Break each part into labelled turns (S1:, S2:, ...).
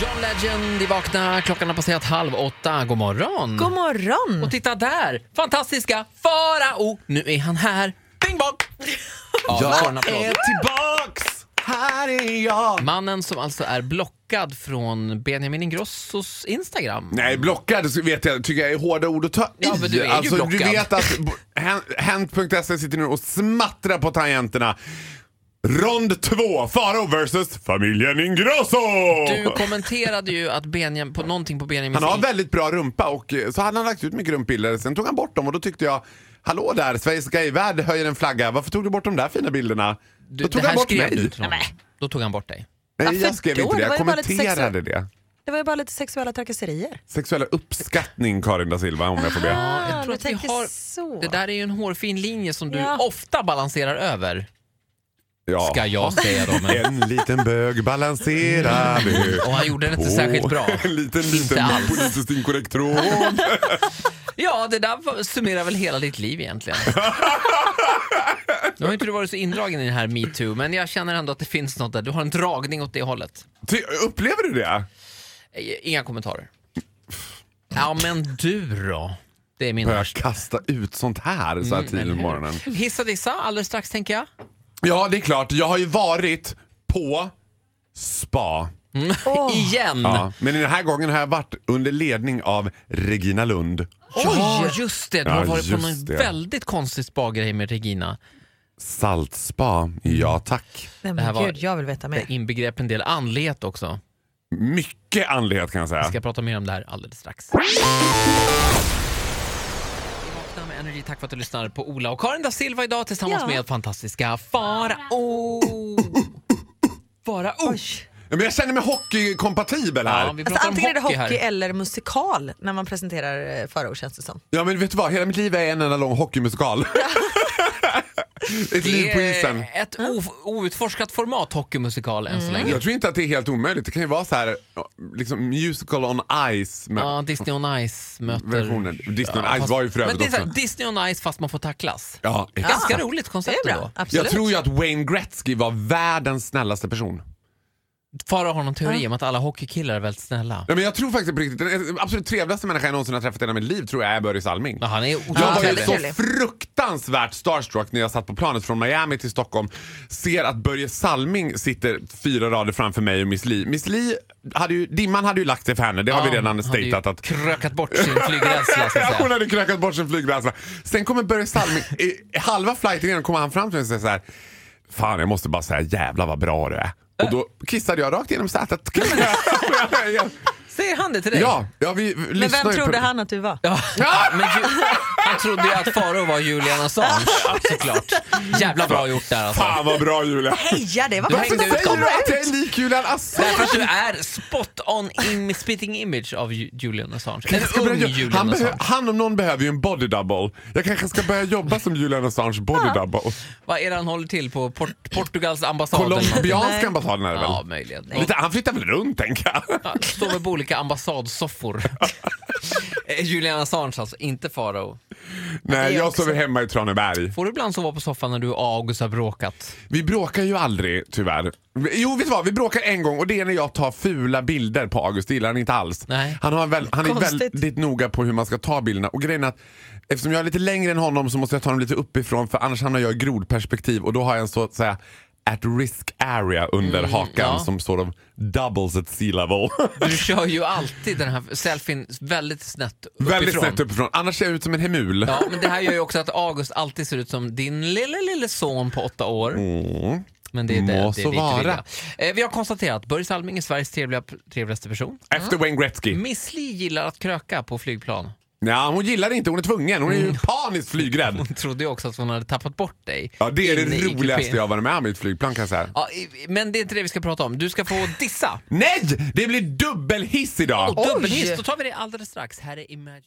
S1: John Legend i Vakna. Klockan har passerat halv åtta. God morgon!
S2: God morgon!
S1: Och titta där! Fantastiska Farao! Nu är han här. Bing bong! Ja, vi får en applåd.
S3: tillbaks! Här är jag!
S1: Mannen som alltså är blockad från Benjamin Ingrossos Instagram.
S3: Nej, blockad så vet jag, tycker jag är hårda ord att ta
S1: Ja,
S3: i.
S1: men du är ju
S3: alltså, du
S1: blockad.
S3: vet att bo- Hen- Hent.se E sitter nu och smattrar på tangenterna. Rond 2, Faro versus familjen Ingrosso!
S1: Du kommenterade ju att Benjam, på någonting på Benjamins...
S3: Han har en väldigt bra rumpa och eh, så hade han lagt ut mycket rumpbilder. Sen tog han bort dem och då tyckte jag, hallå där, Sveriges gayvärld höjer en flagga. Varför tog du bort de där fina bilderna?
S1: Du-
S3: då
S1: det
S3: tog
S1: här
S3: han bort
S1: skrev
S3: mig.
S1: du till honom.
S2: Nej,
S1: Då tog han bort dig.
S3: Nej,
S2: Varför
S3: jag skrev
S2: då?
S3: inte det.
S2: Det var
S3: Jag
S2: ju bara lite
S3: kommenterade det.
S2: Det var ju bara lite sexuella trakasserier.
S3: Sexuell uppskattning, Karin da Silva, om jag får be.
S2: Ah,
S1: jag tror
S2: du
S1: att vi
S2: tänker
S1: har-
S2: så.
S1: Det där är ju en hårfin linje som du
S2: Ja.
S1: ofta balanserar över,
S3: Ja.
S1: ska jag säga då. Men...
S3: En liten bög balanserar du.
S1: Och han gjorde Mm. det inte särskilt bra.
S3: En liten,
S1: Inte
S3: liten
S1: alls.
S3: politiskt inkorrekt tråd.
S1: Ja, det där var- summerar väl hela ditt liv egentligen. Nu har ju inte du varit så indragen i den här metoo, men jag känner ändå att det finns något där. Du har en dragning åt det hållet.
S3: Ty- Upplever du det?
S1: Eh, Inga kommentarer. Ja, men du då? Det är min
S3: Börjar
S1: värsta.
S3: kasta ut sånt här
S1: Mm,
S3: så här tidigt på morgonen.
S1: Hissa dissa alldeles strax tänker jag.
S3: Ja, det är klart. Jag har ju varit på spa.
S1: Igen!
S3: Ja. Men den här gången har jag varit under ledning av Regina Lund.
S1: Ja, just det. Du har
S3: Ja,
S1: varit på
S3: just
S1: någon
S3: det.
S1: väldigt konstig spa-grej med Regina.
S3: Saltspa. Ja, tack.
S2: Nej,
S1: Det här
S2: men
S1: var-
S2: gud, jag vill
S1: Där
S2: veta mer.
S1: inbegrep en del andlighet också.
S3: Mycket andlighet kan jag säga.
S1: Vi ska prata mer om det här alldeles strax. Vi vaknar med Energy. Tack för att du lyssnar på Ola och Karin da Silva idag tillsammans
S2: Ja.
S1: med fantastiska Farao. Farao.
S3: Men jag känner mig hockeykompatibel här.
S1: Ja, vi pratar
S2: Alltså, antingen är det
S1: om hockey,
S2: hockey
S1: här.
S2: eller musikal när man presenterar eh, Farao känns det som.
S3: Ja men vet du vad, hela mitt liv är en enda lång hockeymusikal. Ett liv på
S1: Det
S3: isen.
S1: är ett o- outforskat format hockeymusikal än
S2: Mm.
S1: så länge.
S3: Jag tror inte att det är helt omöjligt. Det kan ju vara så här, liksom musical on ice med
S1: Ja, Disney on Ice möter...
S3: versionen. Disney
S1: Ja,
S3: on ice
S1: fast-
S3: var ju för
S1: Men
S3: övrigt
S1: det är så här,
S3: också.
S1: Disney on Ice fast man får tacklas.
S3: Ja, exakt.
S1: Ganska roligt
S2: Ah. Det
S1: koncept
S2: är bra,
S1: ändå.
S2: absolut.
S3: Jag tror ju att Wayne Gretzky var världens snällaste person.
S1: Farao har någon teori om att alla hockeykillar är väldigt snälla.
S3: Ja, men jag tror faktiskt på riktigt, den absolut trevligaste människan jag någonsin har träffat i hela mitt liv tror jag är Börje Salming.
S1: Men han är
S3: Jag var ju
S1: otroligt
S2: trevlig.
S3: så fruktansvärt starstruck när jag satt på planet från Miami till Stockholm. Ser att Börje Salming sitter fyra rader framför mig och Miss Li. Miss Li, hade ju, dimman hade ju lagt sig för henne. Det har vi redan
S1: hade ju
S3: statat. Att,
S1: krökat bort sin flygrädsla så att
S3: hon
S1: säga.
S3: hade krökat bort sin flygrädsla. Sen kommer Börje Salming, i halva flighten innan kommer han fram till mig och säger så här. Fan jag måste bara säga jävla vad bra du är. Och då kissade jag rakt genom sätet.
S1: Säger han det till dig?
S3: ja, ja, vi vi
S2: Men
S3: lyssnar
S2: vem
S3: ju på-
S2: trodde han att du var?
S1: Ja, Men ju, han trodde ju att Faro var Julian Assange, såklart. Jävla bra gjort där alltså.
S3: Fan vad bra Julia.
S2: Heja, det var
S1: Du
S2: bra
S1: hängde
S2: att de
S1: ut
S3: Säger
S1: dem.
S2: kom
S3: du att jag
S2: ut!
S3: är lik Julian Assange?
S1: Därför att du är spot on im, spitting image av Ju- Julian Assange. En
S3: Jag ska
S1: ung
S3: börja,
S1: Julian
S3: han, behö-
S1: Assange.
S3: han om någon behöver ju en body double. Jag kanske ska börja jobba som Julian Assange body double.
S1: Vad är det han håller till på? Port- Portugals ambassad? eller någonting?
S2: Nej.
S3: Colombianska ambassaden är det
S1: Ja,
S3: väl?
S1: möjligen.
S3: Lite, han flyttar väl runt tänker jag.
S1: Ja, Står väl på olika ambassadsoffor. Eh, Julian Assange alltså, inte Faro.
S3: Nej, jag
S2: också.
S3: sover hemma i Traneberg.
S1: Får du ibland sova på soffan när du och August har bråkat?
S3: Vi bråkar ju aldrig tyvärr. Jo, vet du vad? Vi bråkar en gång och det är när jag tar fula bilder på August. Det gillar han inte alls.
S1: Nej.
S3: Han, har en väl, han är
S2: Konstigt.
S3: väldigt noga på hur man ska ta bilderna. Och grejen är att eftersom jag är lite längre än honom så måste jag ta dem lite uppifrån för annars hamnar jag i grodperspektiv och då har jag en så att säga at risk area under hakan
S1: Mm, ja.
S3: som sort of doubles at sea level.
S1: Du kör ju alltid den här selfien väldigt snett uppifrån.
S3: väldigt snett uppifrån. Annars ser jag ut som en hemul.
S1: Ja, men det här gör ju också att August alltid ser ut som din lille, lille son på åtta år. Men det är det,
S3: Mm. Må
S1: det är
S3: så
S1: dit vi
S3: vara.
S1: vill. Eh, Vi har konstaterat Börje Salming är Sveriges trevliga, trevligaste person.
S3: Efter Wayne Gretzky.
S1: Miss Li gillar att kröka på flygplan.
S3: Ja, hon gillar det inte. Hon är tvungen. Hon är
S1: Mm.
S3: ju paniskt flygrädd.
S1: Hon trodde ju också att hon hade tappat bort dig.
S3: Ja, det
S1: inne
S3: är
S1: i
S3: det
S1: kupén.
S3: roligaste jag har varit med om i ett flygplan kan jag säga.
S1: Ja, i- men det är inte det vi ska prata om. Du ska få dissa.
S3: Nej! Det blir dubbelhiss idag!
S1: Och dubbelhiss, då tar vi det alldeles strax. Här är Imagine,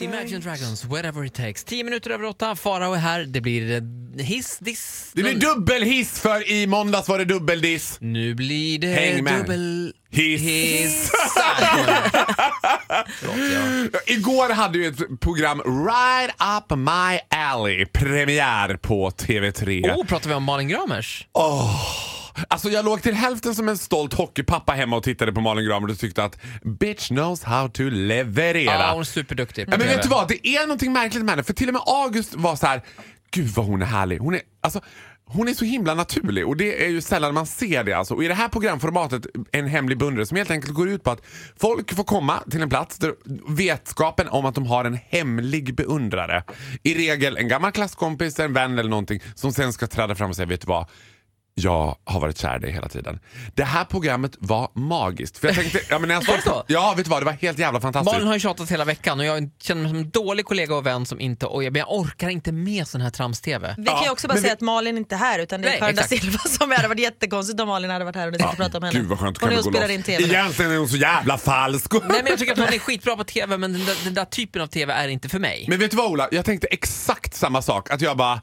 S1: Imagine Dragons, Whatever It Takes. 10 minuter över åtta, Farao är här. Det blir eh, hiss, diss.
S3: Det blir dubbelhiss för i måndags var det dubbeldiss.
S1: Nu blir det
S3: Häng med.
S1: dubbel...
S3: Hiss.
S1: Hissar. Förlåt, jag-
S3: Igår hade ju ett program Right Up My Alley premiär på TV3.
S1: Oh, pratar vi om Malin Gramers?
S3: Alltså jag låg till hälften som en stolt hockeypappa hemma och tittade på Malin Gramer och tyckte att bitch knows how to leverera.
S1: Ja, hon är superduktig. på
S3: Ja, men
S1: TV.
S3: vet du vad, det är någonting märkligt med henne. För till och med August var så här, gud vad hon är härlig. Hon är, alltså, hon är så himla naturlig och det är ju sällan man ser det. Alltså. Och I det här programformatet, En hemlig beundrare, som helt enkelt går ut på att folk får komma till en plats där vetskapen om att de har en hemlig beundrare, i regel en gammal klasskompis, en vän eller någonting, som sen ska träda fram och säga, vet du vad? Jag har varit kär i dig hela tiden. Det här programmet var magiskt. För jag tänkte, ja, men när jag
S1: Var det så?
S3: Ja, vet du vad? Det var helt jävla fantastiskt.
S1: Malin har ju tjatat hela veckan och jag känner mig som en dålig kollega och vän som inte... Oj, men jag orkar inte med sån här trams-TV.
S2: Vi kan ju
S3: Ja,
S2: också bara
S3: men
S2: säga
S3: vi-
S2: att Malin inte är här utan det är
S1: Nej,
S2: Karin da
S1: exakt.
S2: Silva som är här. Det hade varit jättekonstigt om Malin hade varit här och ni skulle prata om henne.
S3: Gud vad skönt, då
S2: hon
S3: kan
S2: är
S3: vi
S2: och
S3: gå
S2: spelar
S3: loss.
S2: in TV.
S3: Egentligen är hon så jävla falsk.
S1: Nej, men jag tycker att hon är skitbra på TV, men den där, den där typen av TV är inte för mig.
S3: Men vet du vad Ola, jag tänkte exakt samma sak. Att jag bara,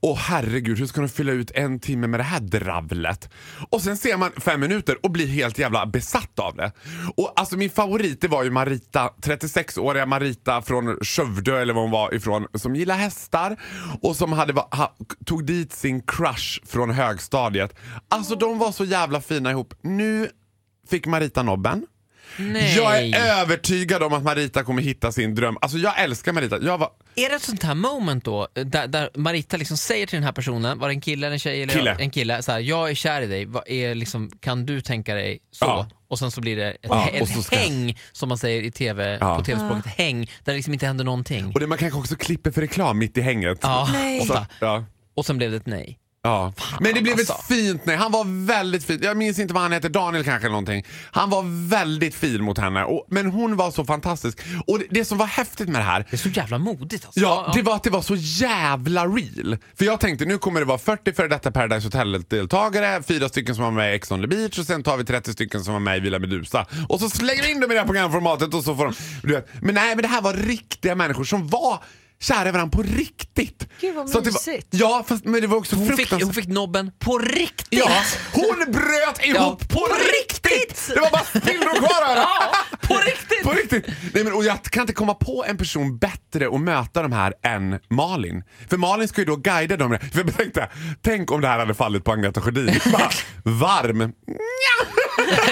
S3: åh herregud hur ska de fylla ut en timme med det här dravlet? Och sen ser man fem minuter och blir helt jävla besatt av det. Och alltså min favorit det var ju Marita, 36-åriga Marita från Skövde eller var hon var ifrån, som gillar hästar och som hade, va- ha, tog dit sin crush från högstadiet. Alltså de var så jävla fina ihop. Nu fick Marita nobben.
S1: Nej.
S3: Jag är övertygad om att Marita kommer hitta sin dröm. Alltså jag älskar Marita. Jag var
S1: Är det ett sånt här moment då, eh, där, där Marita liksom säger till den här personen, var det en kille eller en tjej? Eller
S3: Kille.
S1: En kille. Så här, jag är kär i dig, vad är liksom, kan du tänka dig så?
S3: Ja.
S1: Och sen så blir det ett,
S3: Ja,
S1: ett
S3: och så ska-
S1: häng, som man säger i TV,
S3: Ja.
S1: på tv-språket, häng, där det liksom inte händer någonting.
S3: och det man kanske också klipper för reklam mitt i hänget.
S1: Ja.
S2: Nej.
S1: Och, så,
S3: Ja.
S1: och sen blev det ett nej.
S3: Ja. Men det blev ett
S1: alltså.
S3: fint nej. Han var väldigt fin. Jag minns inte vad han heter, Daniel kanske eller någonting. Han var väldigt fin mot henne. Och, men hon var så fantastisk. Och det, det som var häftigt med det här,
S1: Det är så jävla modigt alltså.
S3: Ja, det var att det var så jävla real. För jag tänkte nu kommer det vara 40 före detta Paradise Hotel-deltagare, fyra stycken som var med i Ex on the beach och sen tar vi 30 stycken som var med i Villa Medusa. Och så slänger vi in dem i det här programformatet och så får de... Du vet. Men nej, men det här var riktiga människor som var kära i varandra på riktigt.
S2: Gud, vad
S3: Så att det var-
S2: mysigt.
S3: Ja, fast, men det var också
S1: hon, fick,
S3: fruktansvärt.
S1: hon fick nobben på riktigt!
S3: Ja, hon bröt ihop
S1: Ja.
S3: på riktigt! Det var bara spillror kvar här.
S1: Ja, på riktigt!
S3: På riktigt! Nej, men, och jag kan inte komma på en person bättre att möta de här än Malin. För Malin ska ju då guida dem. För jag tänkte, tänk om det här hade fallit på Agneta Sjödin. Bara, Varm. Nja.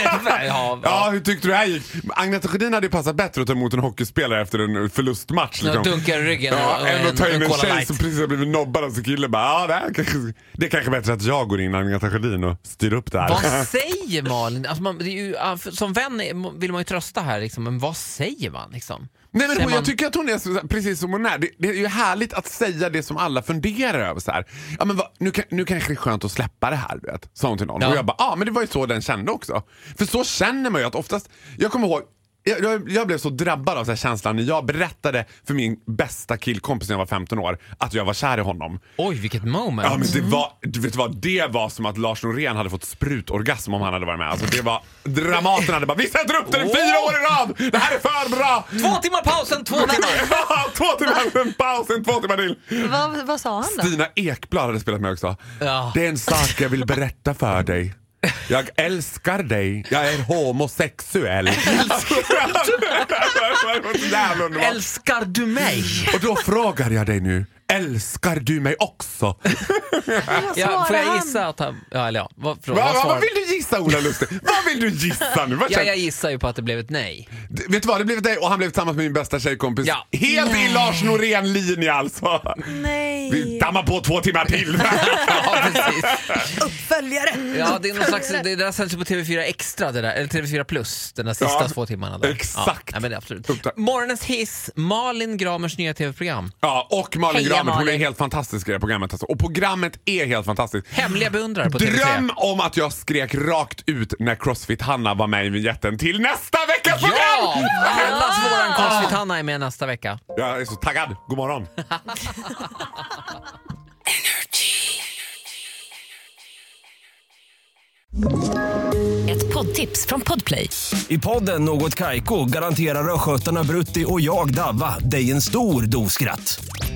S1: ja,
S3: Ja, hur tyckte du det här gick? Agneta Sjödin hade ju passat bättre att ta emot en hockeyspelare efter en förlustmatch.
S1: Ja,
S3: Liksom.
S1: dunkar i ryggen och-
S3: Ja,
S1: och
S3: än
S1: en-
S3: att ta
S1: en
S3: in en
S1: Cola
S3: tjej
S1: Light.
S3: som precis har blivit nobbad av sin kille. Bara, ja, det, här kanske, det är kanske bättre att jag går in, Agneta Sjödin, och styr upp det här.
S1: Vad säger Malin? Alltså man, det är ju, ah, för- som vän är- vill man ju trösta här, liksom, men vad säger man? Liksom?
S3: Nej men
S1: Säger
S3: hon,
S1: man-
S3: jag tycker att hon är så, precis som hon är. Det, det är ju härligt att säga det som alla funderar över. Så här. Ja, men vad- nu, kan, nu kanske det är skönt att släppa det här, du vet, sa hon till någon.
S1: Ja.
S3: Och jag bara, ja ah, men det var ju så den kände också. För så känner man ju att oftast, jag kommer ihåg jag, jag, jag blev så drabbad av den här känslan när jag berättade för min bästa killkompis när jag var 15 år att jag var kär i honom.
S1: Oj, vilket moment!
S3: Ja, men det, var, du vet vad, det var som att Lars Norén hade fått sprutorgasm om han hade varit med. Alltså, det var, Dramaten hade bara “Vi sätter upp den i fyra år i rad! Det här är för bra!”
S1: Två timmar pausen, två timmar!
S3: Ja, två timmar, sen paus, sen två timmar till.
S2: Vad, vad sa han
S1: Alltså.
S2: då?
S3: Stina Ekblad hade spelat med också.
S1: Ja.
S3: Det är en sak jag vill berätta för dig. Jag älskar dig. Jag är homosexuell. Det var så jävla underbart.
S1: Älskar du mig?
S3: Och då frågar jag dig nu, älskar du mig också?
S2: Vad
S1: Ja,
S2: svarade
S1: får jag
S2: han?
S1: gissa att han... Ja, eller ja. Vad, förlåt,
S3: Va,
S1: vad
S3: va,
S1: svarar-
S3: vad vill du gissa Ola Lustig? Vad vill du gissa nu? Vad
S1: ja,
S3: känner-
S1: jag gissar ju på att det blev ett nej.
S3: D- Vet du vad, det blev dig och han blev tillsammans med min bästa tjejkompis.
S1: Ja.
S3: Helt i Lars Norén-linje alltså. Vi
S2: Nej,
S3: dammar på två timmar till.
S1: Ja, precis.
S2: uppföljare!
S1: Ja, det, är någon slags, det det där sänds ju på TV4 Extra, det där, eller TV4 Plus, den där sista
S3: Ja,
S1: två timmarna. Där. Ja,
S3: exakt.
S1: nej, men det är absolut.
S3: Upptack.
S1: Morgonens hiss, Malin Gramers nya TV-program.
S3: Ja, och Malin
S2: Heja,
S3: Gramer. Hon är
S2: Malin.
S3: helt fantastisk i det här programmet. Alltså. Och programmet är helt fantastiskt.
S1: Hemliga beundrare på TV3.
S3: Dröm om att jag skrek rakt ut när Crossfit-Hanna var med i vignetten till nästa veckas program!
S1: Ja! Allas våran Crossfit-Hanna är med nästa vecka.
S3: Jag är så taggad. God morgon.
S4: Ett poddtips från Podplay.
S5: I podden Något Kaiko garanterar östgötarna Brutti och jag, Davva, dig en stor dos skratt.